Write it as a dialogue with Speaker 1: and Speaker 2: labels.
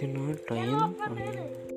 Speaker 1: You know, lion. um,